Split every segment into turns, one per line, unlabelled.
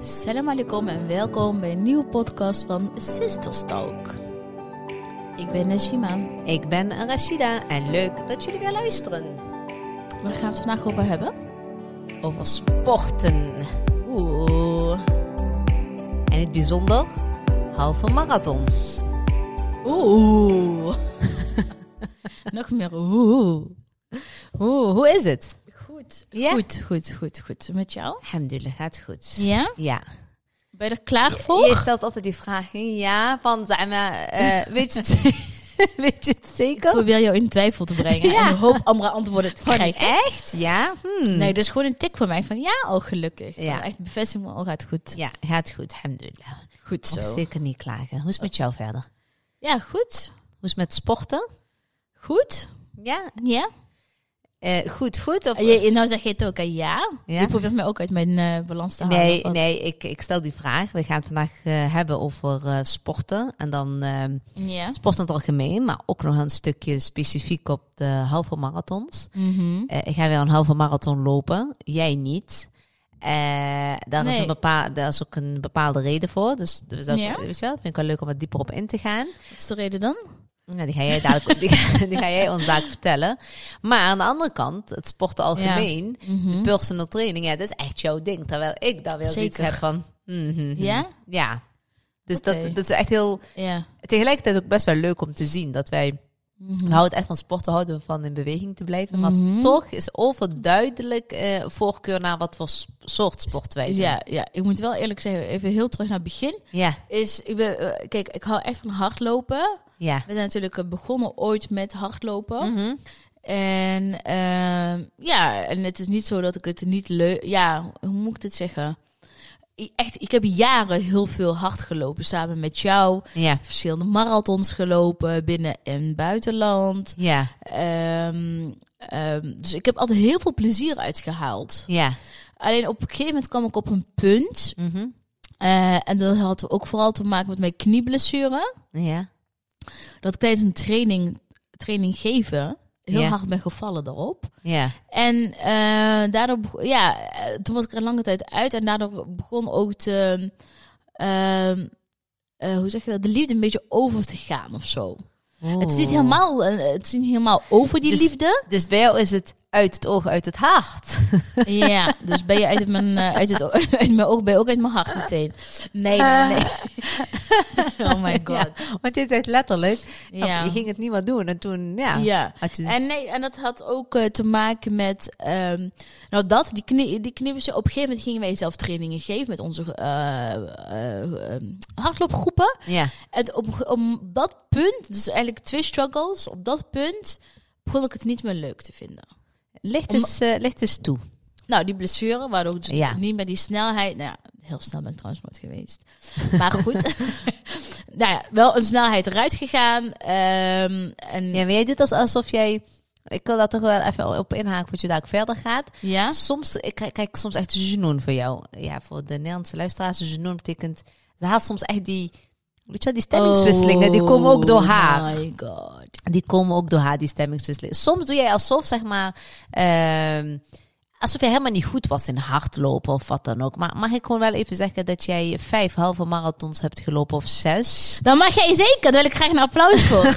Salam alaikum en welkom bij een nieuwe podcast van Sisters Talk. Ik ben Najima.
Ik ben Rashida en leuk dat jullie weer luisteren.
Waar gaan we het vandaag over hebben?
Over sporten.
Oeh.
En in het bijzonder halve marathons.
Oeh. Nog meer oeh.
Hoe, hoe is het?
Goed.
Ja?
Goed, goed, goed, goed. Met jou?
Alhamdulillah, gaat goed.
Ja?
Ja.
Ben je er klaar voor?
Je stelt altijd die vraag, ja, van Zama, eh weet, je het, weet je het
Ik
zeker?
probeer jou in twijfel te brengen
Ja.
en hoop andere antwoorden te
Gewoon
krijgen.
echt? Ja? Hmm.
Nee, dat is gewoon een tik voor mij van ja, oh gelukkig.
Ja.
Echt bevestiging van oh gaat goed.
Ja, gaat goed, alhamdulillah.
Goed
Zo.
zo.
Zeker niet klagen. Hoe is het met jou verder?
Ja, goed.
Hoe is het met sporten?
Goed.
Ja,
Ja.
eh, goed, goed. Of,
En Je, nou zeg je het ook, hè? ja.
Ja?
Je probeert mij ook uit mijn eh, balans te halen.
Nee,
want-
nee ik, ik stel die vraag. We gaan het vandaag eh, hebben over eh, sporten. En dan ehm
Ja.
sport in het algemeen, maar ook nog een stukje specifiek op de halve marathons.
Mhm.
Eh, ik ga weer een halve marathon lopen, jij niet. Eh, daar, is
Nee.
een bepaal, daar is ook een bepaalde reden voor. Dus dat
Ja?
weet je wel, vind ik wel leuk om wat dieper op in te gaan.
Wat is de reden dan?
Ja, die, ga jij dadelijk, die, ga, die ga jij ons dadelijk vertellen. Maar aan de andere kant, het sporten algemeen,
Mhm.
personal training, ja, dat is echt jouw ding. Terwijl ik daar weer zoiets
Zeker.
heb van... mhm.
Ja?
Ja. Dus
Oké.
dat, dat is echt heel...
Ja.
Tegelijkertijd ook best wel leuk om te zien dat wij... We houden echt van sport, we houden van in beweging te blijven. Maar
Nou, Mhm.
toch is overduidelijk eh, voorkeur naar wat voor s- soort sport wij doen.
Ja, ja, ik moet wel eerlijk zeggen, even heel terug naar het begin.
ja.
Is, ik ben, eh, kijk, ik hou echt van hardlopen.
ja.
We zijn natuurlijk eh, begonnen ooit met hardlopen.
Mhm.
En ehm, ja, en het is niet zo dat ik het niet leuk. Ja, hoe moet ik dit zeggen? I- Echt, ik heb jaren heel veel hard gelopen samen met jou.
ja.
Verschillende marathons gelopen binnen en buitenland.
Ja.
Ehm, ehm, dus ik heb altijd heel veel plezier uitgehaald.
Ja.
Alleen op een gegeven moment kwam ik op een punt.
Mhm.
eh, en dat had ook vooral te maken met mijn knieblessure.
Ja.
Dat ik tijdens een training, training geven heel
Ja.
hard ben gevallen daarop.
Ja.
En eh, daardoor, beg- ja, eh, toen was ik er een lange tijd uit en daardoor begon ook te, ehm, eh, hoe zeg je dat, de liefde een beetje over te gaan of zo. Het is niet
Oeh.
helemaal, eh, het is niet helemaal over die
Dus-
liefde.
Dus bij jou is het uit het oog, uit het hart.
Ja, dus ben je uit het mijn, eh, uit het, o- uit mijn oog, ben je ook uit mijn hart meteen. Nee, nee, nee. Oh my god.
Ja, want je zegt letterlijk,
Ja. Oh,
je ging het niet meer doen. En toen, ja.
Ja.
had je-
En nee, en dat had ook eh, te maken met, ehm, nou dat, die, knie, die knieën. Op een gegeven moment gingen wij zelf trainingen geven met onze eh, eh, ehm, hardloopgroepen.
ja.
En op, op dat punt, dus eigenlijk twee struggles, op dat punt begon ik het niet meer leuk te vinden.
Licht
Om-
eens, eh, licht eens toe.
Nou, die blessure, waardoor ik dus
Ja.
niet meer die snelheid... Nou ja, heel snel ben ik trouwens nooit geweest. Maar goed, nou ja, wel een snelheid eruit gegaan. ehm, en,
Ja, maar jij doet als- alsof jij... Ik wil daar toch wel even op inhaken voordat je daar verder gaat.
ja?
Soms, ik krijg, krijg ik soms echt genoen voor jou. Ja, voor de Nederlandse luisteraars, genoen betekent... Ze haalt soms echt die... Weet je wel, die stemmingswisselingen, die komen ook door haar.
Oh my god.
Die komen ook door haar, die stemmingswisselingen. Soms doe jij alsof, zeg maar... ehm, alsof jij helemaal niet goed was in hardlopen of wat dan ook. Maar mag ik gewoon wel even zeggen dat jij vijf halve marathons hebt gelopen of zes?
Dan mag jij zeker, daar wil ik graag een applaus voor.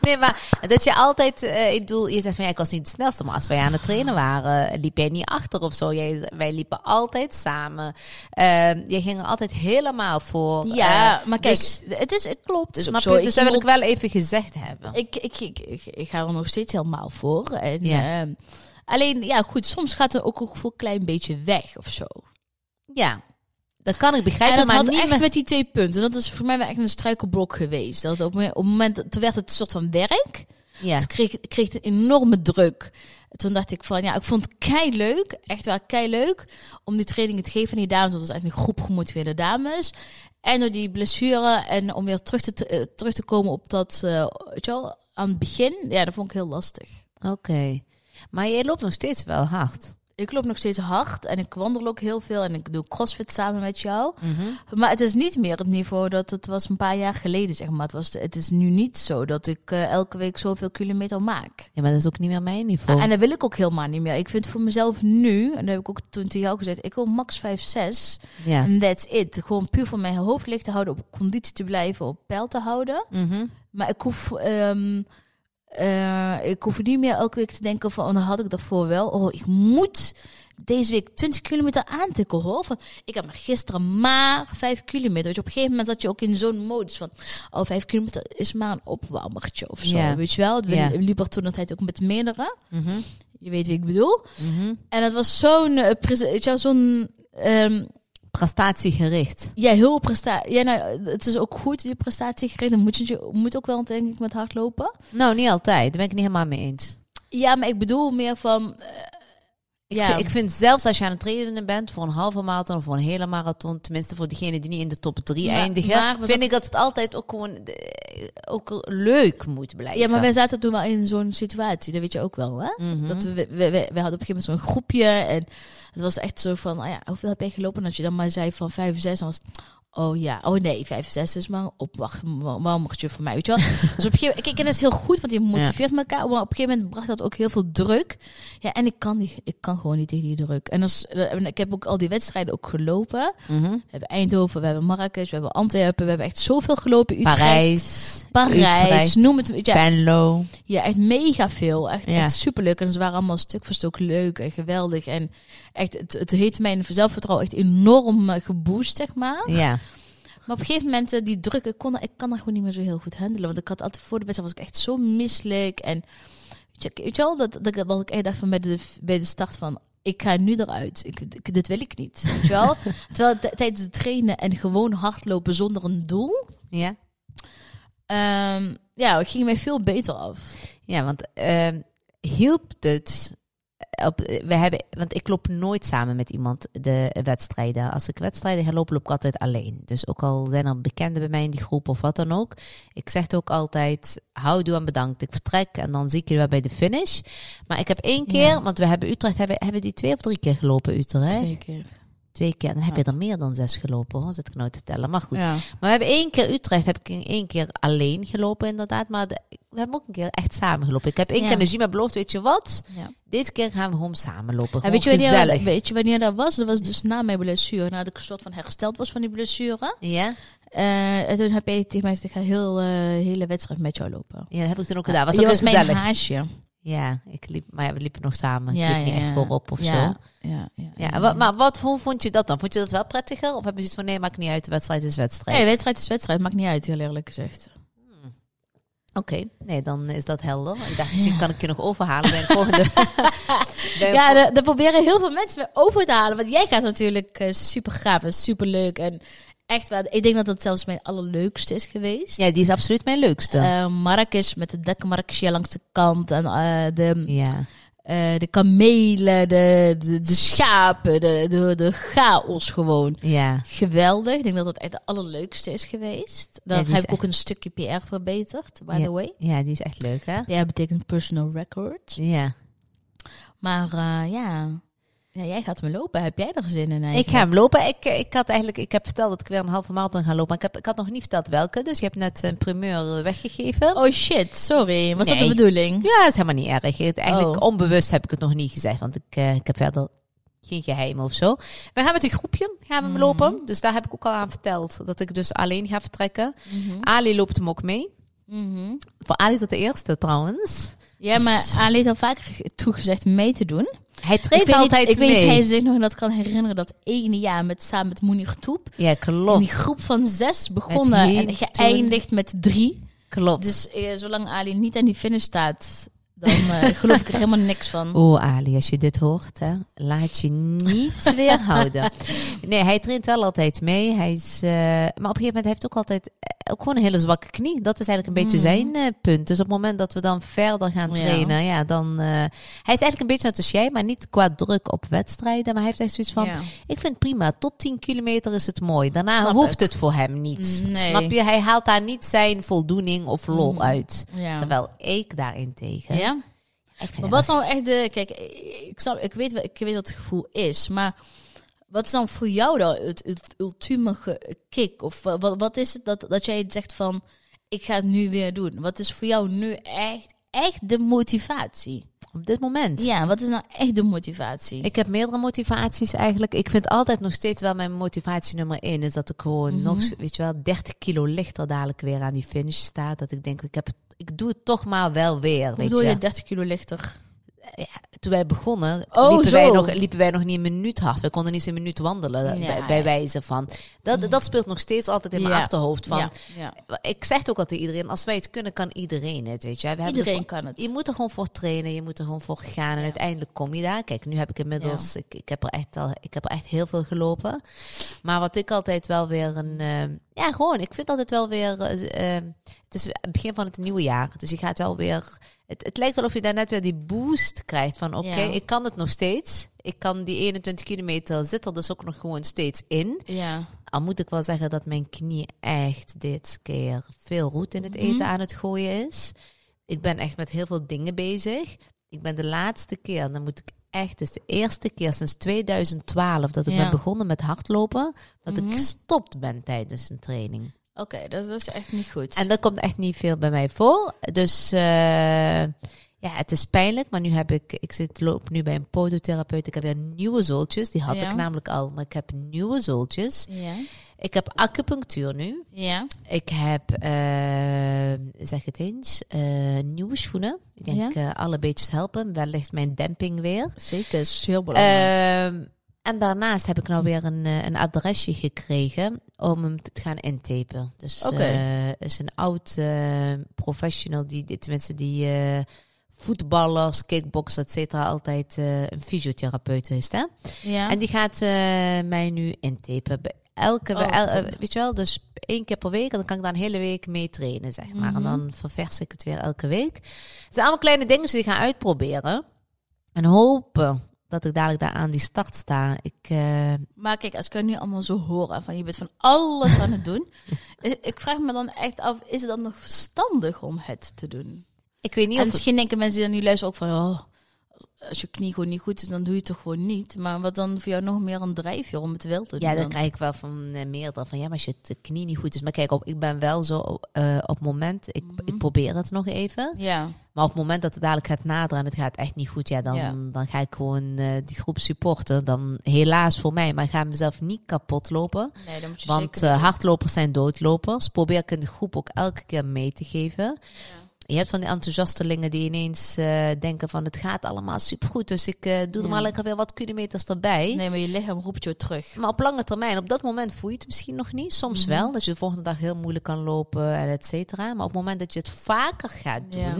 Nee, maar dat je altijd, eh, ik bedoel, je zegt van ja, ik was niet de snelste, maar als wij aan het trainen waren, eh, liep jij niet achter of zo. Jij, wij liepen altijd samen. Eh, jij ging er altijd helemaal voor.
ja,
Eh,
maar kijk,
dus,
het, is, het klopt.
snap
ook
je?
zo.
dus dat
ging
wil ik
ook-
wel even gezegd hebben.
ik, ik, ik, ik, ik ga er nog steeds helemaal voor. En,
Ja.
ehm, alleen, ja goed, soms gaat er ook een gevoel klein beetje weg of zo.
ja, dat kan ik
En
begrijpen,
dat
maar
had
niet
echt
met-
met die twee punten. Dat is voor mij wel echt een struikelblok geweest. Dat op, me- op het moment, dat- toen werd het een soort van werk.
ja.
Toen kreeg, ik- kreeg ik een enorme druk. Toen dacht ik van, ja, ik vond het kei leuk, echt waar kei leuk, om die trainingen te geven aan die dames. Want het was eigenlijk een groep gemotiveerde dames. En door die blessure en om weer terug te, te- eh, terug te komen op dat, eh, weet je wel, aan het begin, ja, dat vond ik heel lastig.
Oké. Maar jij loopt nog steeds wel hard.
ik loop nog steeds hard en ik wandel ook heel veel en ik doe crossfit samen met jou. Maar het is niet meer het niveau dat het was een paar jaar geleden, zeg maar. Het, was, het is nu niet zo dat ik eh, elke week zoveel kilometer maak.
Ja, maar dat is ook niet meer mijn niveau.
En dat wil ik ook helemaal niet meer. Ik vind voor mezelf nu, en dat heb ik ook toen tegen jou gezegd, ik wil max 5, 6.
ja.
En that's it. Gewoon puur voor mijn hoofd licht te houden, op conditie te blijven, op peil te houden.
Mhm.
Maar ik hoef, ehm, eh, ik hoef niet meer elke week te denken van, oh, dan had ik daarvoor wel. Oh, ik moet deze week 20 kilometer aantikken hoor. Van, ik heb maar gisteren maar 5 kilometer. Weet je, op een gegeven moment zat je ook in zo'n modus van, oh, 5 kilometer is maar een opwarmertje of zo.
Ja.
Weet je wel? We
Ja.
liepen toen dat tijd ook met meerdere.
Mhm.
Je weet wie ik bedoel.
Mhm.
En dat was zo'n, eh, prese- weet je wel, zo'n, ehm,
Prestatiegericht.
ja, heel prestatie. Ja, nou, het is ook goed, die prestatiegericht. Dan moet je het je moet ook wel, denk ik, met hardlopen.
Nou, niet altijd. Daar ben ik het niet helemaal mee eens.
Ja, maar ik bedoel meer van. eh, ja,
Ik vind zelfs als je aan het trainen bent voor een halve marathon of voor een hele marathon, tenminste voor diegenen die niet in de top 3
Maar-
eindigen,
maar we
vind
zaten-
ik dat het altijd ook gewoon eh, ook leuk moet blijven.
ja, maar wij zaten toen wel in zo'n situatie, dat weet je ook wel, hè?
Mhm.
Dat we, we, we, we hadden op een gegeven moment zo'n groepje en het was echt zo van, ah ja, hoeveel heb je gelopen? Dat je dan maar zei van 5, 6, dan was het, oh ja, oh nee, 5, 6 is maar een opwarmertje voor mij, weet je wel? dus op een gegeven moment, kijk, en dat is heel goed, want je motiveert elkaar, maar op een gegeven moment bracht dat ook heel veel druk. Ja, en ik kan, die, ik kan gewoon niet tegen die druk. En, als, en ik heb ook al die wedstrijden ook gelopen.
Mhm.
We hebben Eindhoven, we hebben Marrakesh, we hebben Antwerpen, we hebben echt zoveel gelopen, Utrecht.
Parijs,
Parijs,
Utrecht,
noem het. Ja,
Venlo.
ja, echt mega veel. Echt,
Ja.
echt superleuk. En ze waren allemaal stuk voor stuk leuk en geweldig. En echt, het, het heeft mijn zelfvertrouwen echt enorm eh, geboost, zeg maar.
Ja.
Maar op een gegeven moment, eh, die druk, ik, kon, dat- ik kan dat gewoon niet meer zo heel goed handelen. Want ik had altijd voor de wedstrijd was ik echt zo misselijk. En weet je, weet je wel, dat, dat, ik- dat ik echt dacht van bij de, bij de start van... Ik ga nu eruit. Ik, ik- dit wil ik niet. Weet je wel? Terwijl t- tijdens het trainen en gewoon hardlopen zonder een doel...
Ja.
ehm, ja, het ging mij veel beter af.
Ja, want ehm, hielp het. eh, Op, we hebben, want ik loop nooit samen met iemand de wedstrijden. Als ik wedstrijden ga lopen, loop ik altijd alleen. Dus ook al zijn er bekenden bij mij in die groep of wat dan ook. Ik zeg het ook altijd, houdoe en bedankt. Ik vertrek en dan zie ik jullie wel bij de finish. Maar ik heb één keer,
Ja.
want we hebben Utrecht, hebben, hebben die twee of drie keer gelopen Utrecht? Twee,
keer.
keer. Dan heb je er meer dan zes gelopen hoor, zit ik nou te tellen. Maar goed,
Ja.
maar we hebben één keer Utrecht, heb ik in één keer alleen gelopen inderdaad. Maar de- we hebben ook een keer echt samen gelopen. Ik heb één
Ja.
keer energie, maar beloofd, weet je wat?
Ja.
Deze keer gaan we gewoon samen lopen.
En
Gewoon
weet je, wanneer,
gezellig.
weet je wanneer dat was? Dat was dus na mijn blessure. Nadat ik een soort van hersteld was van die blessure.
Ja?
Eh, en toen heb je tegen mij gezegd, ik ga heel eh, hele wedstrijd met jou lopen.
ja, dat heb ik toen ook gedaan. Was
Je
ook
was
heel
mijn
gezellig.
haasje.
Ja, ik liep, maar ja, we liepen nog samen.
Ja,
ik liep niet
ja,
echt
ja.
voorop of
ja,
zo.
Ja, ja,
Ja, en wat- maar wat, hoe vond je dat dan? Vond je dat wel prettiger? Of heb je zoiets van, nee, maakt niet uit, Hmm. de wedstrijd is wedstrijd?
Nee, wedstrijd is wedstrijd. Maakt niet uit, heel eerlijk gezegd.
Oké, nee, dan is dat helder. Ik dacht, misschien kan ik je nog overhalen bij de volgende. bij een
Ja, daar daar proberen heel veel mensen me over te halen. Want jij gaat natuurlijk super gaaf en super leuk. En echt waar, ik denk dat dat zelfs mijn allerleukste is geweest.
vol- ja, die is absoluut mijn leukste.
Eh, Marrakesh met de dikke Marrakesh langs de kant. En eh, de,
ja.
Eh, de kamelen, de, de, de schapen, de, de, de chaos gewoon.
ja.
Geweldig. Ik denk dat dat echt de allerleukste is geweest. Daar
Ja, die is
heb ik ook een stukje PR verbeterd, by the way.
Ja, die is echt leuk, hè?
PR betekent personal record.
Ja.
Maar eh, ja. ja, jij gaat me lopen. Heb jij er zin in eigenlijk?
Ik ga hem lopen. Ik, eh, ik, had eigenlijk, ik heb verteld dat ik weer een halve marathon ga lopen. Maar ik, heb, ik had nog niet verteld welke. Dus je hebt net een primeur eh, weggegeven.
Oh shit, sorry. Was
Nee.
dat de bedoeling?
Ja, dat is helemaal niet erg. Het- eigenlijk
Oh.
onbewust heb ik het nog niet gezegd. Want ik, eh, ik heb verder geen geheimen of zo. We gaan met een groepje gaan we hem lopen. Dus daar heb ik ook al aan verteld. Dat ik dus alleen ga vertrekken. Ali loopt hem ook mee.
Mhm.
Voor Ali is dat de eerste trouwens.
Ja, maar Ali heeft al vaker ge- toegezegd mee te doen.
Hij
Ik
treedt
weet, niet,
altijd
ik
mee.
weet niet of hij zich nog dat kan herinneren. Dat ene jaar met, samen met Moenir Toep.
Ja,
In
klopt.
die groep van zes begonnen
Met
en
Hint
geëindigd met drie.
Klopt.
Dus eh, zolang Ali niet aan die finish staat, dan eh, geloof ik er helemaal niks van.
Oeh, Oh, Ali, als je dit hoort, hè, laat je niet weerhouden. Nee, hij traint wel altijd mee. Hij is, eh, maar op een gegeven moment heeft hij ook altijd eh, ook gewoon een hele zwakke knie. Dat is eigenlijk een beetje zijn eh, punt. Dus op het moment dat we dan verder gaan
Mhm. Ja.
trainen, ja, dan. eh, hij is eigenlijk een beetje net als jij, maar niet qua druk op wedstrijden. Maar hij heeft echt zoiets van:
Ja.
ik vind het prima, tot 10 kilometer is het mooi. Daarna
Snap
hoeft het voor hem niet.
Nee. Mhm.
Snap je? Hij haalt daar niet zijn voldoening of lol uit.
Ja.
Terwijl ik daarentegen.
ja?
vind
Maar
dat
wat nou echt de... Kijk, ik, snap, ik, weet, wel- ik weet wat het gevoel is, maar... Wat is dan voor jou dan het, het ultieme ge- kick? Of wa- wat, wat is het dat, dat jij zegt van... Ik ga het nu weer doen. Wat is voor jou nu echt, echt de motivatie?
Op dit moment.
Ja, wat is nou echt de motivatie?
Ik heb meerdere motivaties eigenlijk. Ik vind altijd nog steeds wel mijn motivatie nummer één. Is dat ik gewoon
Mhm.
nog, weet je wel, 30 kilo lichter dadelijk weer aan die finish sta. Dat ik denk, ik, heb het, ik doe het toch maar wel weer.
Hoe
Weet
bedoel
je.
je 30 kilo lichter?
Toen wij begonnen,
Oh,
liepen,
zo.
wij nog, liepen wij nog niet een minuut hard. We konden niet eens een minuut wandelen,
Ja,
bij, bij
ja.
wijze van. Dat, dat speelt nog steeds altijd in mijn
Ja.
achterhoofd. Van,
Ja, ja.
Ik zeg het ook altijd iedereen, als wij het kunnen, kan iedereen het, weet je. We hebben
Iedereen
ervoor-
kan het.
Je moet er gewoon voor trainen, je moet er gewoon voor gaan. En uiteindelijk kom je daar. Kijk, nu heb ik inmiddels, ik, ik, heb er echt al, ik heb er echt heel veel gelopen. Maar wat ik altijd wel weer een, eh, ja gewoon, ik vind altijd wel weer, eh, eh, het is het begin van het nieuwe jaar. Dus je gaat wel weer, het, het lijkt wel of je daar net weer die boost krijgt van oké,
Ja.
ik kan het nog steeds. Ik kan die 21 kilometer, zit er dus ook nog gewoon steeds in.
Ja.
Al moet ik wel zeggen dat mijn knie echt dit keer veel roet in het
Mhm.
eten aan het gooien is. Ik ben echt met heel veel dingen bezig. Ik ben de laatste keer, en dan moet ik echt, het is de eerste keer sinds 2012 dat ik
Ja.
ben begonnen met hardlopen, dat
Mhm.
ik gestopt ben tijdens een training.
Oké, dat, dat is echt niet goed.
En dat komt echt niet veel bij mij voor. Dus eh, ja, het is pijnlijk. Maar nu heb ik, ik zit, loop nu bij een podotherapeut. Ik heb weer nieuwe zooltjes. Die had
Ja.
ik namelijk al, maar ik heb nieuwe zooltjes.
ja.
Ik heb acupunctuur nu.
Ja.
Ik heb, eh, zeg het eens, eh, nieuwe schoenen. Ik denk eh, alle beetjes helpen. Wellicht mijn demping weer.
Zeker, is heel
Ehm, en daarnaast heb ik nou weer een, eh, een adresje gekregen om hem te gaan intapen. Dus
Oké.
eh, is een oud eh, professional, die, die- tenminste die eh, voetballers, kickboxers, et cetera, altijd eh, een fysiotherapeut is. Hè?
ja.
En die gaat eh, mij nu intapen. Bij Elke,
Oh,
bij el-
top.
eh, weet je wel, dus één keer per week. En dan kan ik daar een hele week mee trainen, zeg maar.
Mhm.
En dan ververs ik het weer elke week. Het zijn allemaal kleine dingen die ik ga uitproberen. En hopen dat ik dadelijk daar aan die start sta. Ik, eh,
Maar kijk, als ik het nu allemaal zo hoor, en van je bent van alles aan het doen. is- Ik vraag me dan echt af, is het dan nog verstandig om het te doen?
ik weet niet
En
of...
misschien denken mensen die dan nu luisteren ook van, oh, als je knie gewoon niet goed is, dan doe je het toch gewoon niet. Maar wat dan voor jou nog meer een drijfveer om het wel te doen?
Ja, dat
dan?
krijg ik wel van eh, meerdere. Van ja, maar als je het knie niet goed is. Maar kijk, op, ik ben wel zo eh, op het moment... Ik, ik probeer het nog even.
Ja,
Maar op het moment dat het dadelijk gaat naderen en het gaat echt niet goed, ja, dan,
Ja.
dan ga ik gewoon eh, die groep supporten. Dan helaas voor mij, maar ik ga mezelf niet kapot lopen.
nee, dan moet je
Want
zeker...
eh, hardlopers zijn doodlopers. Probeer ik in de groep ook elke keer mee te geven. Je hebt van die enthousiastelingen die ineens eh, denken van het gaat allemaal supergoed. Dus ik eh, doe
Ja.
er maar lekker weer wat kilometers erbij.
Nee, maar je lichaam roept je terug.
Maar op lange termijn, op dat moment voel je het misschien nog niet. Soms
Mhm.
wel, dat je de volgende dag heel moeilijk kan lopen en et cetera. Maar op het moment dat je het vaker gaat doen...
Ja.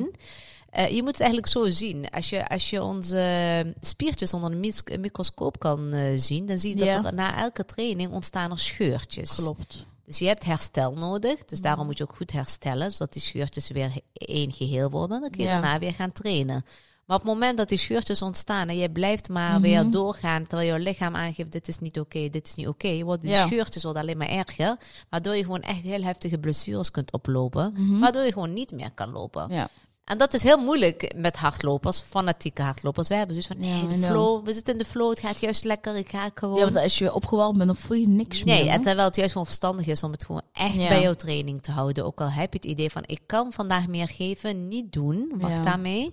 eh, je moet het eigenlijk zo zien. Als je, als je onze spiertjes onder een mis- een microscoop kan eh, zien... dan zie je dat
Ja.
er na elke training ontstaan er scheurtjes.
Klopt.
Dus je hebt herstel nodig.
Mhm.
Dus daarom moet je ook goed herstellen, zodat die scheurtjes weer he- één geheel worden. Dan kun je
Ja.
daarna weer gaan trainen. Maar op het moment dat die scheurtjes ontstaan en je blijft maar
Mhm.
weer doorgaan, terwijl jouw lichaam aangeeft: dit is niet oké, dit is niet oké, worden die
Ja.
scheurtjes worden alleen maar erger. Waardoor je gewoon echt heel heftige blessures kunt oplopen, waardoor je gewoon niet meer kan lopen.
Mhm. Ja.
En dat is heel moeilijk met hardlopers, fanatieke hardlopers. Wij hebben zoiets van:
Ja,
nee,
I
de
know.
flow, we zitten in de flow, het gaat juist lekker, ik ga gewoon.
ja, want als je opgewarmd bent, dan voel je niks meer.
Nee,
hè?
en terwijl het juist gewoon verstandig is om het gewoon echt
Ja.
bij jouw training te houden. Ook al heb je het idee van, ik kan vandaag meer geven, niet doen, wacht
Ja.
daarmee.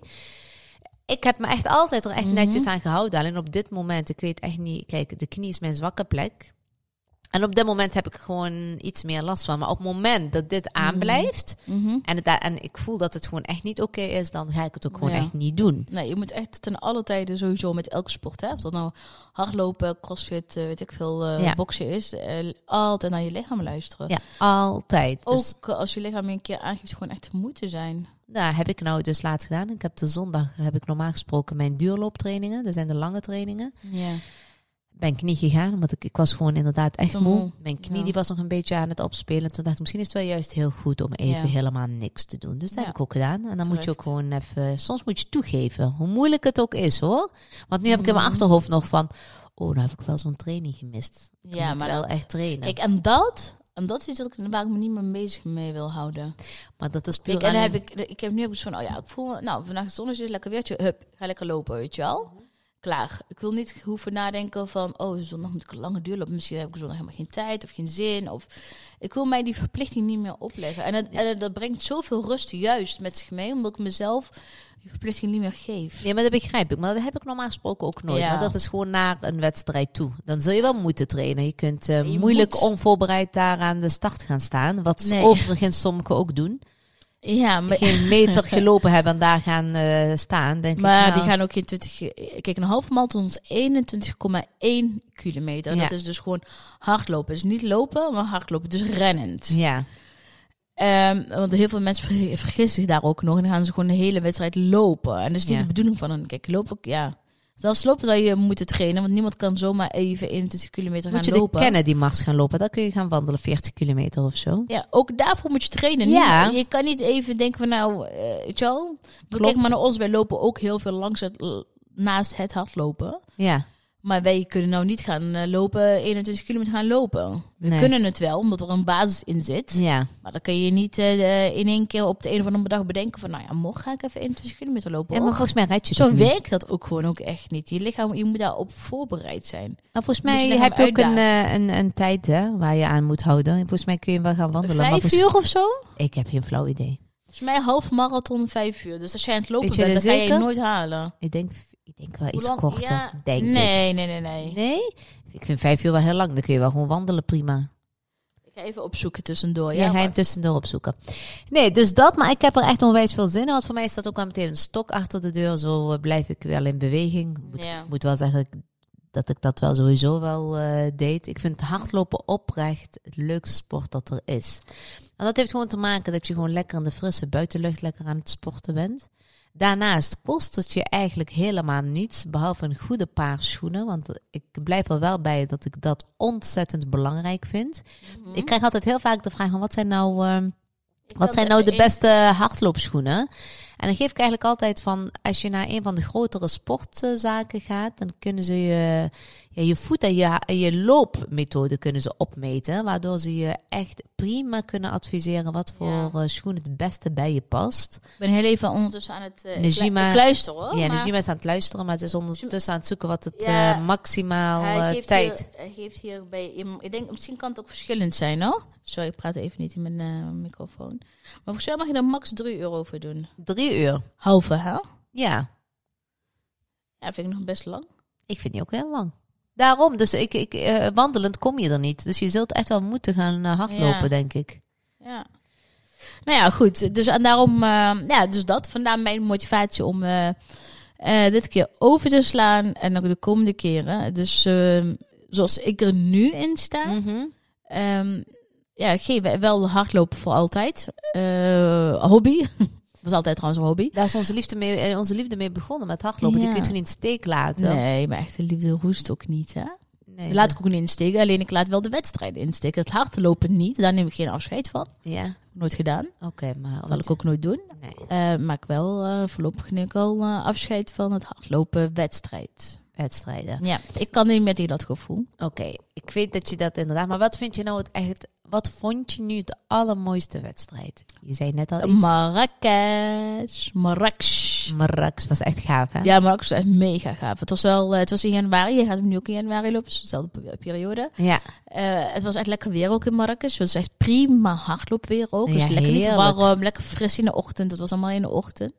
Ik heb me echt altijd er echt
Mhm.
netjes aan gehouden. Alleen op dit moment, ik weet echt niet, kijk, de knie is mijn zwakke plek. En op dit moment heb ik er gewoon iets meer last van. Maar op het moment dat dit aanblijft
Mhm.
en, het, da- en ik voel dat het gewoon echt niet oké is, dan ga ik het ook gewoon
Ja.
echt niet doen.
Nee, je moet echt ten alle tijden sowieso met elke sport, hè, of dat nou hardlopen, crossfit, eh, weet ik veel, eh,
Ja.
boksen is, eh, altijd naar je lichaam luisteren.
Ja, altijd. Dus-
Ook eh, als je lichaam een keer aangeeft gewoon echt te moeten zijn.
Nou, heb ik nou dus laatst gedaan. Ik heb de zondag, heb ik normaal gesproken mijn duurlooptrainingen. Dat zijn de lange trainingen.
Ja.
Ben ik niet gegaan, want ik, ik was gewoon inderdaad echt
Te
moe.
moe.
Mijn knie
Ja.
die was nog een beetje aan het opspelen. Toen dacht ik, misschien is het wel juist heel goed om even
Ja.
helemaal niks te doen. Dus dat
Ja.
heb ik ook gedaan. En dan moet je
Terecht.
ook gewoon even... Soms moet je toegeven, hoe moeilijk het ook is hoor. Want nu heb ik in mijn
Mhm.
achterhoofd nog van... Oh, nou heb ik wel zo'n training gemist. Ik
Ja,
moet
maar
wel
dat-
echt trainen.
Kijk, en dat, En dat is iets wat ik, waar ik me niet meer bezig mee wil houden.
Maar dat is puur
Ik, en dan
alleen-
heb ik, ik heb nu ook iets van, oh ja, ik voel me, nou, vandaag is zonnetje, is lekker weertje, hup, ga lekker lopen, weet je wel.
Mhm.
Klaar. Ik wil niet hoeven nadenken van, oh, zondag moet ik een lange duur lopen. Misschien heb ik zondag helemaal geen tijd of geen zin. Of ik wil mij die verplichting niet meer opleggen. En, het, en dat brengt zoveel rust juist met zich mee, omdat ik mezelf die verplichting niet meer geef.
Ja, maar dat begrijp ik. Maar dat heb ik normaal gesproken ook nooit.
Ja.
Want dat is gewoon naar een wedstrijd toe. Dan zul je wel moeten trainen. Je kunt eh,
Je
moeilijk
moet.
onvoorbereid daar aan de start gaan staan. Wat
Nee.
overigens sommigen ook doen.
Ja, maar,
Geen meter gelopen hebben en daar gaan eh, staan. Denk
maar
ik, nou,
die gaan ook geen 20... Kijk, een halve marathon is 21,1 kilometer. En
Ja.
Dat is dus gewoon hardlopen. Dus niet lopen, maar hardlopen. Dus rennend.
Ja,
Ehm, want heel veel mensen ver- vergissen zich daar ook nog. En dan gaan ze gewoon de hele wedstrijd lopen. En dat is niet
Ja.
de bedoeling van een. Kijk, lopen, ja. Zelfs lopen zou je moeten trainen. Want niemand kan zomaar even 21 kilometer
moet je
gaan
de
lopen.
Kennedy mars gaan lopen. Dan kun je gaan wandelen 40 kilometer of zo.
Ja, ook daarvoor moet je trainen.
Ja.
Niet- je kan niet even denken van nou, eh, weet je wel. Want Kijk
Klopt.
maar naar ons. Wij lopen ook heel veel langs het, naast het hardlopen.
Ja.
Maar wij kunnen nou niet gaan eh, lopen, 21 kilometer gaan lopen. We
Nee.
kunnen het wel, omdat er een basis in zit.
Ja.
Maar dan kun je niet eh, in één keer op de een of andere dag bedenken van... nou ja, morgen ga ik even 21 kilometer lopen.
ja, maar
hoor.
volgens mij rijd je
Zo
toch niet.
werkt dat ook gewoon ook echt niet. Je lichaam, je moet daarop voorbereid zijn.
Maar volgens
Moet je
mij
lichaam
heb je ook een,
uitdagen.
eh, een, een tijd hè, waar je aan moet houden. Volgens mij kun je wel gaan wandelen. maar
vijf
volgens-
uur of zo?
Ik heb geen flauw idee.
Volgens mij half marathon vijf uur. Dus als jij aan het lopen
Weet je
bent,
dat
dan ga je je
zeker?
nooit halen.
Ik denk, ik denk wel
Hoe
iets
lang-
korter,
ja,
denk ik.
nee, Nee, nee, nee,
Nee? Ik vind vijf uur wel heel lang. Dan kun je wel gewoon wandelen, prima.
Ik ga even opzoeken tussendoor. Oh,
Ja,
Ja,
ga je hem tussendoor opzoeken. Nee, dus dat. Maar ik heb er echt onwijs veel zin in. Want voor mij is dat ook wel meteen een stok achter de deur. Zo eh, blijf ik wel in beweging. Moet,
Ja.
Ik moet wel zeggen dat ik dat wel sowieso wel eh, deed. Ik vind hardlopen oprecht het leukste sport dat er is. En dat heeft gewoon te maken dat je gewoon lekker in de frisse buitenlucht lekker aan het sporten bent. Daarnaast kost het je eigenlijk helemaal niets, behalve een goede paar schoenen. Want ik blijf er wel bij dat ik dat ontzettend belangrijk vind. Ik krijg altijd heel vaak de vraag van wat zijn nou, ehm, wat zijn nou de beste hardloopschoenen? En dan geef ik eigenlijk altijd van, als je naar een van de grotere sportzaken gaat, dan kunnen ze je, ja, je voet en je, ha- en je loopmethode kunnen ze opmeten. Waardoor ze je echt prima kunnen adviseren wat voor
Ja.
eh, schoen het beste bij je past.
Ik ben heel even ondertussen aan het eh
Najima-
klu- kluisteren hoor.
ja,
maar
Najima is aan het luisteren, maar ze is ondertussen aan het zoeken wat het
Ja,
eh, maximaal
hij
eh,
geeft
tijd...
Hier, hij geeft hier bij... Ik denk, misschien kan het ook verschillend zijn hoor. Sorry, ik praat even niet in mijn eh, microfoon. Maar volgens mij mag je er max 3 euro voor doen.
Drie uur.
Halve, hè?
Ja,
Ja, vind ik nog best lang.
ik vind die ook heel lang. Daarom, dus ik, ik, eh, wandelend kom je er niet. Dus je zult echt wel moeten gaan eh, hardlopen,
Ja.
denk ik.
Ja. Nou ja, goed. Dus en daarom, eh, ja, dus dat. Vandaar mijn motivatie om eh, eh, dit keer over te slaan. En ook de komende keren. Dus eh, zoals ik er nu in sta.
Mhm.
ehm, ja, geen, wel hardlopen voor altijd. Eh, hobby. Was altijd trouwens een hobby.
Daar is onze liefde, mee, eh, onze liefde mee begonnen met hardlopen. Die
Ja.
kun je toen in de steek laten.
Nee, maar echte liefde roest ook niet, hè?
Nee,
Die laat ik ook niet insteken. Alleen ik laat wel de wedstrijden insteken. Het hardlopen niet, daar neem ik geen afscheid van.
Ja,
Nooit gedaan.
oké, maar...
Dat zal ik ook nooit doen.
Nee.
Eh, maar ik wel eh, voorlopig neem ik al eh, afscheid van het hardlopen wedstrijd.
Wedstrijden.
Ja, ik kan niet meer tegen dat gevoel.
Oké, ik weet dat je dat inderdaad... Maar wat vind je nou het echt... Wat vond je nu het allermooiste wedstrijd? Je zei net al iets.
Marrakesh. Marrakesh.
Marrakesh was echt gaaf, hè?
Ja, Marrakesh is echt mega gaaf. Het was wel, eh, het was in januari. Je gaat hem nu ook in januari lopen. Dus dezelfde pe- periode.
Ja.
Eh, het was echt lekker weer ook in Marrakesh. Het was echt prima hardloopweer ook. Dus
Ja,
lekker niet
heerlijk.
warm, lekker fris in de ochtend. Het was allemaal in de ochtend.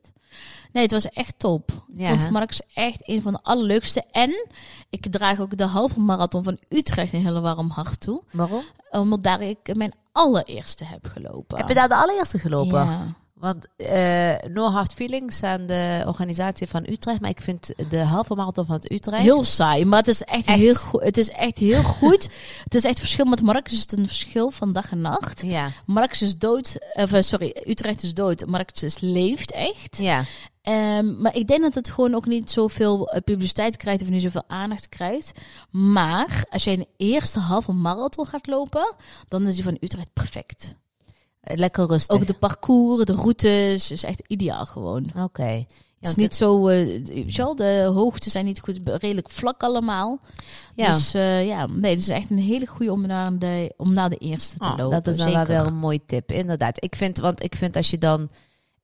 Nee, het was echt top.
Ja,
Ik
hè?
vond Marrakesh echt een van de allerleukste. En ik draag ook de halve marathon van Utrecht een heel warm hart toe.
Waarom?
Omdat daar ik mijn allereerste heb gelopen.
Heb je daar de allereerste gelopen?
Ja.
Want eh, no hard feelings aan de organisatie van Utrecht. Maar ik vind de halve marathon van Utrecht...
Heel saai, maar het is echt,
Echt?
heel goed. Het is echt heel goed. het is echt verschil met Marrakesh. dus Het is een verschil van dag en nacht.
Ja,
Marrakesh is dood. Of, eh, sorry, Utrecht is dood. Marrakesh leeft echt.
ja.
Ehm, maar ik denk dat het gewoon ook niet zoveel eh, publiciteit krijgt of niet zoveel aandacht krijgt. Maar als jij een eerste halve marathon gaat lopen, dan is die van Utrecht perfect.
lekker rustig.
Ook de parcours, de routes, is echt ideaal gewoon.
Oké.
Het is
want
niet zo, eh Charles, de hoogten zijn niet goed, redelijk vlak allemaal.
Ja.
Dus eh, ja, nee, het is echt een hele goede om naar de, om naar de eerste te
Ah,
lopen.
Dat is dan wel
zeker.
wel een mooi tip, inderdaad. Ik vind, want ik vind als je dan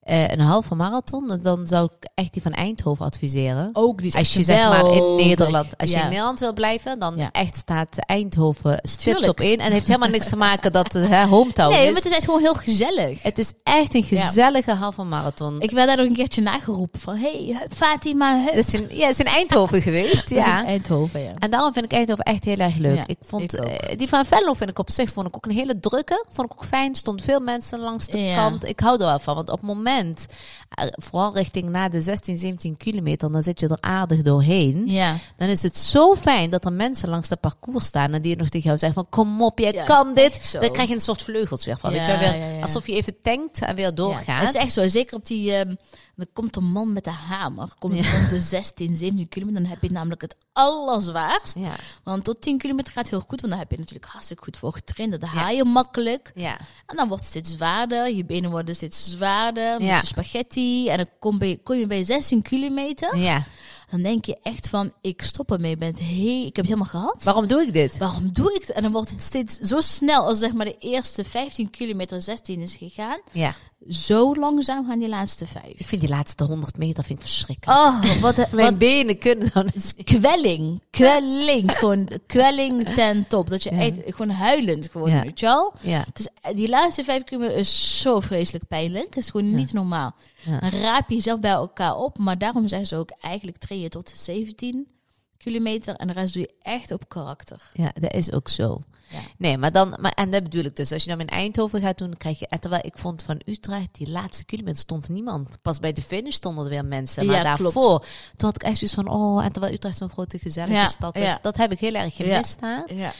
eh, een halve marathon, dan- dan zou ik echt die van Eindhoven adviseren.
Ook die Oh, is
Als je
echt
zeg maar in
geweldig.
Nederland, als je
Ja.
in Nederland wil blijven, dan
Ja.
echt staat Eindhoven stipt
Tuurlijk.
op één. En het heeft helemaal niks te maken dat het hè, hometown
Nee, maar
is.
het is echt gewoon heel gezellig.
Het is echt een gezellige halve marathon.
Ik werd daar nog een keertje nageroepen van, hey, hup, Fatima, hup.
Het is in, ja, het is in Eindhoven geweest,
Dat is
ja.
in Eindhoven, Dus, ja.
En daarom vind ik Eindhoven echt heel erg leuk.
Ja,
ik vond,
ik ook.
eh, die van Venlo vind ik op zich vond ik ook een hele drukke. Vond ik ook fijn. Stond veel mensen langs de
Ja.
kant. Ik hou er wel van. Want op het moment, eh, vooral richting na de 16, 17 kilometer, dan zit je er aardig doorheen.
Ja,
Dan is het zo fijn dat er mensen langs dat parcours staan. En die nog tegen jou zeggen van kom op, jij
Ja,
kan
is echt
dit.
zo.
Dan krijg je een soort vleugels weer van.
Ja,
weet je, wel, weer,
ja, ja.
Alsof je even tankt en weer doorgaat.
Ja, het is echt zo. Zeker op die... ehm, dan komt een man met de hamer. Komt rond de 16, 17 kilometer. Dan heb je namelijk het allerzwaarst.
Ja.
Want tot 10 kilometer gaat heel goed. Want daar heb je natuurlijk hartstikke goed voor getraind. Dat haal je makkelijk.
Ja.
En dan wordt het steeds zwaarder. Je benen worden steeds zwaarder. Met
Ja.
je spaghetti. En dan kom, bij, kom je bij 16 kilometer.
ja.
Dan denk je echt van... Ik stop ermee. Ik, ben het he- ik heb het helemaal gehad.
Waarom doe ik dit?
Waarom doe ik het? En dan wordt het steeds zo snel als zeg maar de eerste 15 kilometer 16 is gegaan.
Ja.
Zo langzaam gaan die laatste vijf.
Ik vind die laatste 100 meter vind ik verschrikkelijk.
Oh, wat, wat
Mijn benen kunnen dan
kwelling. Kwelling. Gewoon kwelling ten top. Dat je echt gewoon huilend gewoon,
Ja.
weet je wel?
Ja.
Het is, eh, die laatste vijf kilometer is zo vreselijk pijnlijk. Het is gewoon niet normaal.
Ja.
Dan raap je jezelf bij elkaar op. Maar daarom zijn ze ook eigenlijk train je tot de 17 kilometer. En de rest doe je echt op karakter.
Ja, dat is ook zo.
Ja.
Nee, maar dan, maar, en dat bedoel ik dus. Als je dan in Eindhoven gaat doen, dan krijg je. en Terwijl ik vond van Utrecht, die laatste kilometer stond niemand. Pas bij de finish stonden er weer mensen. Maar
Ja,
daarvoor,
klopt.
toen had ik echt zoiets van, oh, en terwijl Utrecht zo'n grote gezellige
Ja,
stad is.
ja.
Dat heb ik heel erg gemist daar.
Ja.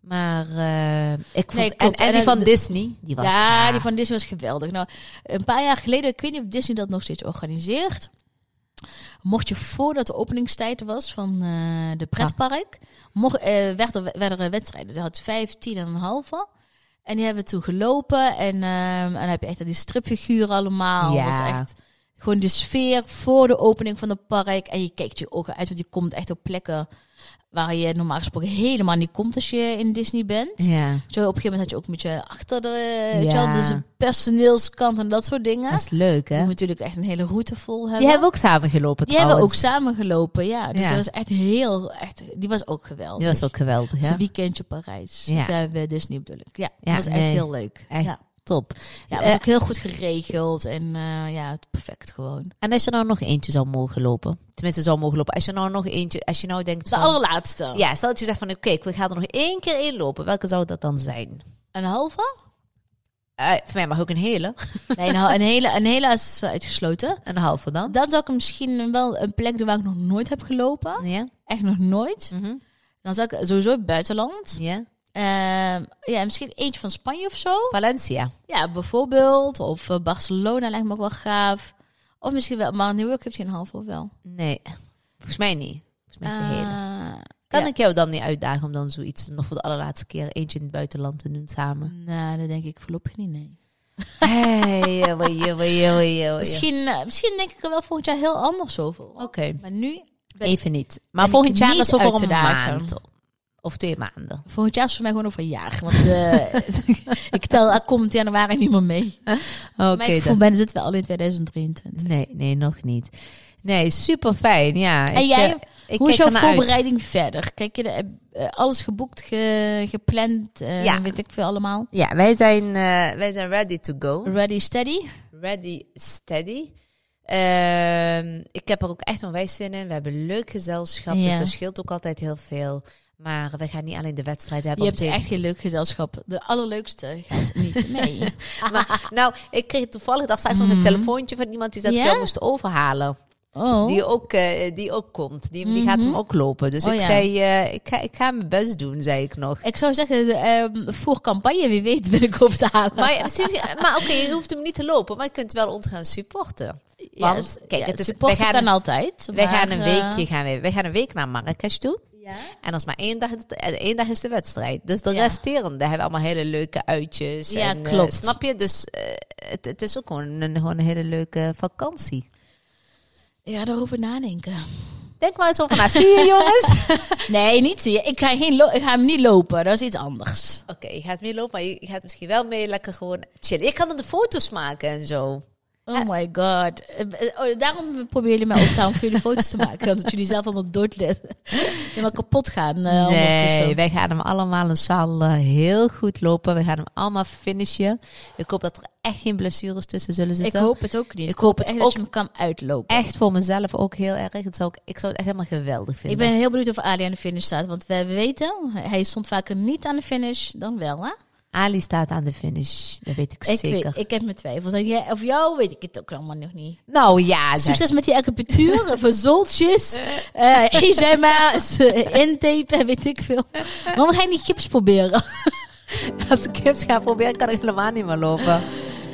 Maar eh, ik vond.
Nee,
en,
klopt.
en
En
die
dan
van
de-
Disney, die was.
Ja,
gaaf.
die van Disney was geweldig. Nou, een paar jaar geleden, ik weet niet of Disney dat nog steeds organiseert. Mocht je voordat de openingstijd was van eh, de pretpark, mocht, eh, werd er, werden er wedstrijden. Er had vijf, tien en een halve. En die hebben we toen gelopen. En, ehm, en dan heb je echt die stripfiguren allemaal.
Ja.
Ja. was echt gewoon de sfeer voor de opening van het park. En je kijkt je ogen uit, want je komt echt op plekken waar je normaal gesproken helemaal niet komt als je in Disney bent.
Ja,
Zo, op een gegeven moment had je ook een beetje achter de,
Ja.
weet je wel, dus een personeelskant en dat soort dingen.
dat is leuk,
Die
hè?
moet natuurlijk echt een hele route vol hebben.
Die hebben we ook samen gelopen.
Die hebben we ook
trouwens.
samen gelopen, ja. Dus
Ja.
dat was echt heel, echt, die was ook geweldig.
Die was ook geweldig,
Dus
hè?
een weekendje Parijs.
Ja.
Ja. bij Disney bedoel ik. Ja,
Ja,
dat was echt
nee.
heel leuk.
Echt
Ja,
top.
ja het was
Eh,
ook heel goed geregeld en eh, ja, het perfect gewoon.
En als je nou nog eentje zou mogen lopen, tenminste zou mogen lopen, als je nou nog eentje, als je nou denkt
De
van,
allerlaatste.
ja, stel dat je zegt van, oké, ik ga er nog één keer in lopen, welke zou dat dan zijn?
Een halve?
Eh voor mij mag ook een hele,
Nee, een, hal- een, hele, een hele is uitgesloten.
een halve dan.
Dan zou ik misschien wel een plek doen waar ik nog nooit heb gelopen.
Ja,
Echt nog nooit.
Mhm.
Dan zou ik sowieso het buitenland.
ja.
Ehm, ja, misschien eentje van Spanje of zo.
Valencia.
Ja, bijvoorbeeld. Of eh, Barcelona lijkt me ook wel gaaf. Of misschien wel, maar New York heeft geen half of wel.
Nee, volgens mij niet. Volgens mij is het de hele.
Eh,
Kan
ja.
ik jou dan niet uitdagen om dan zoiets nog voor de allerlaatste keer eentje in het buitenland te doen samen?
Nou, dat denk ik voorlopig niet, nee.
Hey, eh, wee, eh, wee, eh, wee, eh, wee.
Misschien, eh, misschien denk ik er wel volgend jaar heel anders over.
Oké,
Maar nu,
even niet. Maar
ik
volgend jaar
niet
is over
uit te
een
dagen.
maand of twee maanden.
volgend jaar is voor mij gewoon over een jaar. Want eh, ik tel er komt januari niet meer mee.
Oké,
maar ik
dan.
voor ben zitten we al in 2023.
Nee, nee, nog niet. Nee, super fijn. Ja, eh,
En jij? Hoe is
kijk
jouw
ernaar uit.
voorbereiding verder? Kijk je er, eh, alles geboekt, ge- gepland, eh,
Ja.
weet ik veel allemaal?
Ja, wij zijn, eh, wij zijn ready to go.
Ready, steady?
Ready, steady. Ehm, ik heb er ook echt onwijs zin in. We hebben een leuk gezelschap, dus
Ja.
dat scheelt ook altijd heel veel. Maar we gaan niet alleen de wedstrijden
Je
hebben. op
hebt
de-
echt geen leuk gezelschap. De allerleukste gaat niet mee.
Maar, nou, ik kreeg toevallig daar straks nog een telefoontje van iemand die zei dat ik
Mm. Ja?
jou moest overhalen.
Oh,
Die, ook, eh, die ook komt. Die, die gaat hem ook lopen. Dus
Oh,
ik
ja.
zei, eh, ik, ga, ik ga mijn best doen, zei ik nog.
ik zou zeggen, de, ehm, voor campagne, wie weet ben ik op te halen.
Maar, ja, misschien- maar oké, je hoeft hem niet te lopen, maar je kunt wel ons gaan supporten.
Ja,
Want,
s-
kijk,
ja,
het is, wij
supporten
gaan,
kan altijd.
wij
maar,
gaan een
eh,
weekje gaan we, wij gaan een week naar Marrakesh toe.
ja?
En als maar één dag, het- en één dag is de wedstrijd. Dus de
Ja.
resterende hebben allemaal hele leuke uitjes.
Ja,
en, eh,
klopt.
snap je? Dus eh, het, het is ook gewoon een, gewoon een hele leuke vakantie.
Ja, daarover nadenken.
Denk maar eens over na. Zie je, jongens?
Nee, niet zie je. Ik ga, geen lo- ik ga hem niet lopen. Dat is iets anders.
Oké, je gaat mee lopen, maar je gaat misschien wel mee lekker gewoon chillen. Ik kan dan de foto's maken en zo.
Oh my god. Eh, eh, oh, daarom proberen jullie mij op te houden om voor jullie foto's te maken. Dat jullie zelf allemaal dood Helemaal kapot gaan eh,
Nee,
ondertussen.
wij gaan hem allemaal in zaal eh, heel goed lopen. We gaan hem allemaal finishen. Ik hoop dat er echt geen blessures tussen zullen
Ik
zitten.
hoop het ook niet.
Ik
Ik,
hoop
hoop
het
echt dat je
ook.
me kan uitlopen.
Echt voor mezelf ook heel erg. Het zou, ik- ik zou het echt helemaal geweldig
Ik
vinden.
ben heel benieuwd of Ali aan de finish staat. Want we weten, hij stond vaker niet aan de finish dan wel, hè?
Ali staat aan de finish. Dat weet ik,
Ik,
zeker.
weet, ik heb mijn twijfels. En jij, of jou weet ik het ook allemaal nog niet.
Nou ja, zeg.
Succes met die acupunctuur, verzoltjes, eh eczema's, eh, intapen, en weet ik veel. Waarom ga je niet gips proberen?
als ik hips ga proberen, kan ik helemaal niet meer lopen.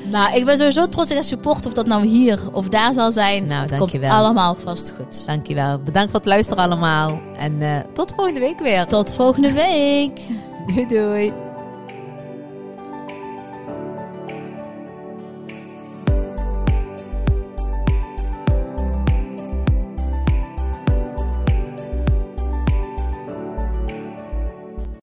Nou, ik ben sowieso trots dat ik support of dat nou hier of daar zal zijn.
Nou,
het komt
dankjewel.
allemaal vast goed.
Dankjewel. Bedankt voor het luisteren allemaal. En eh, tot volgende week weer.
Tot volgende Nou, week.
Doei doei.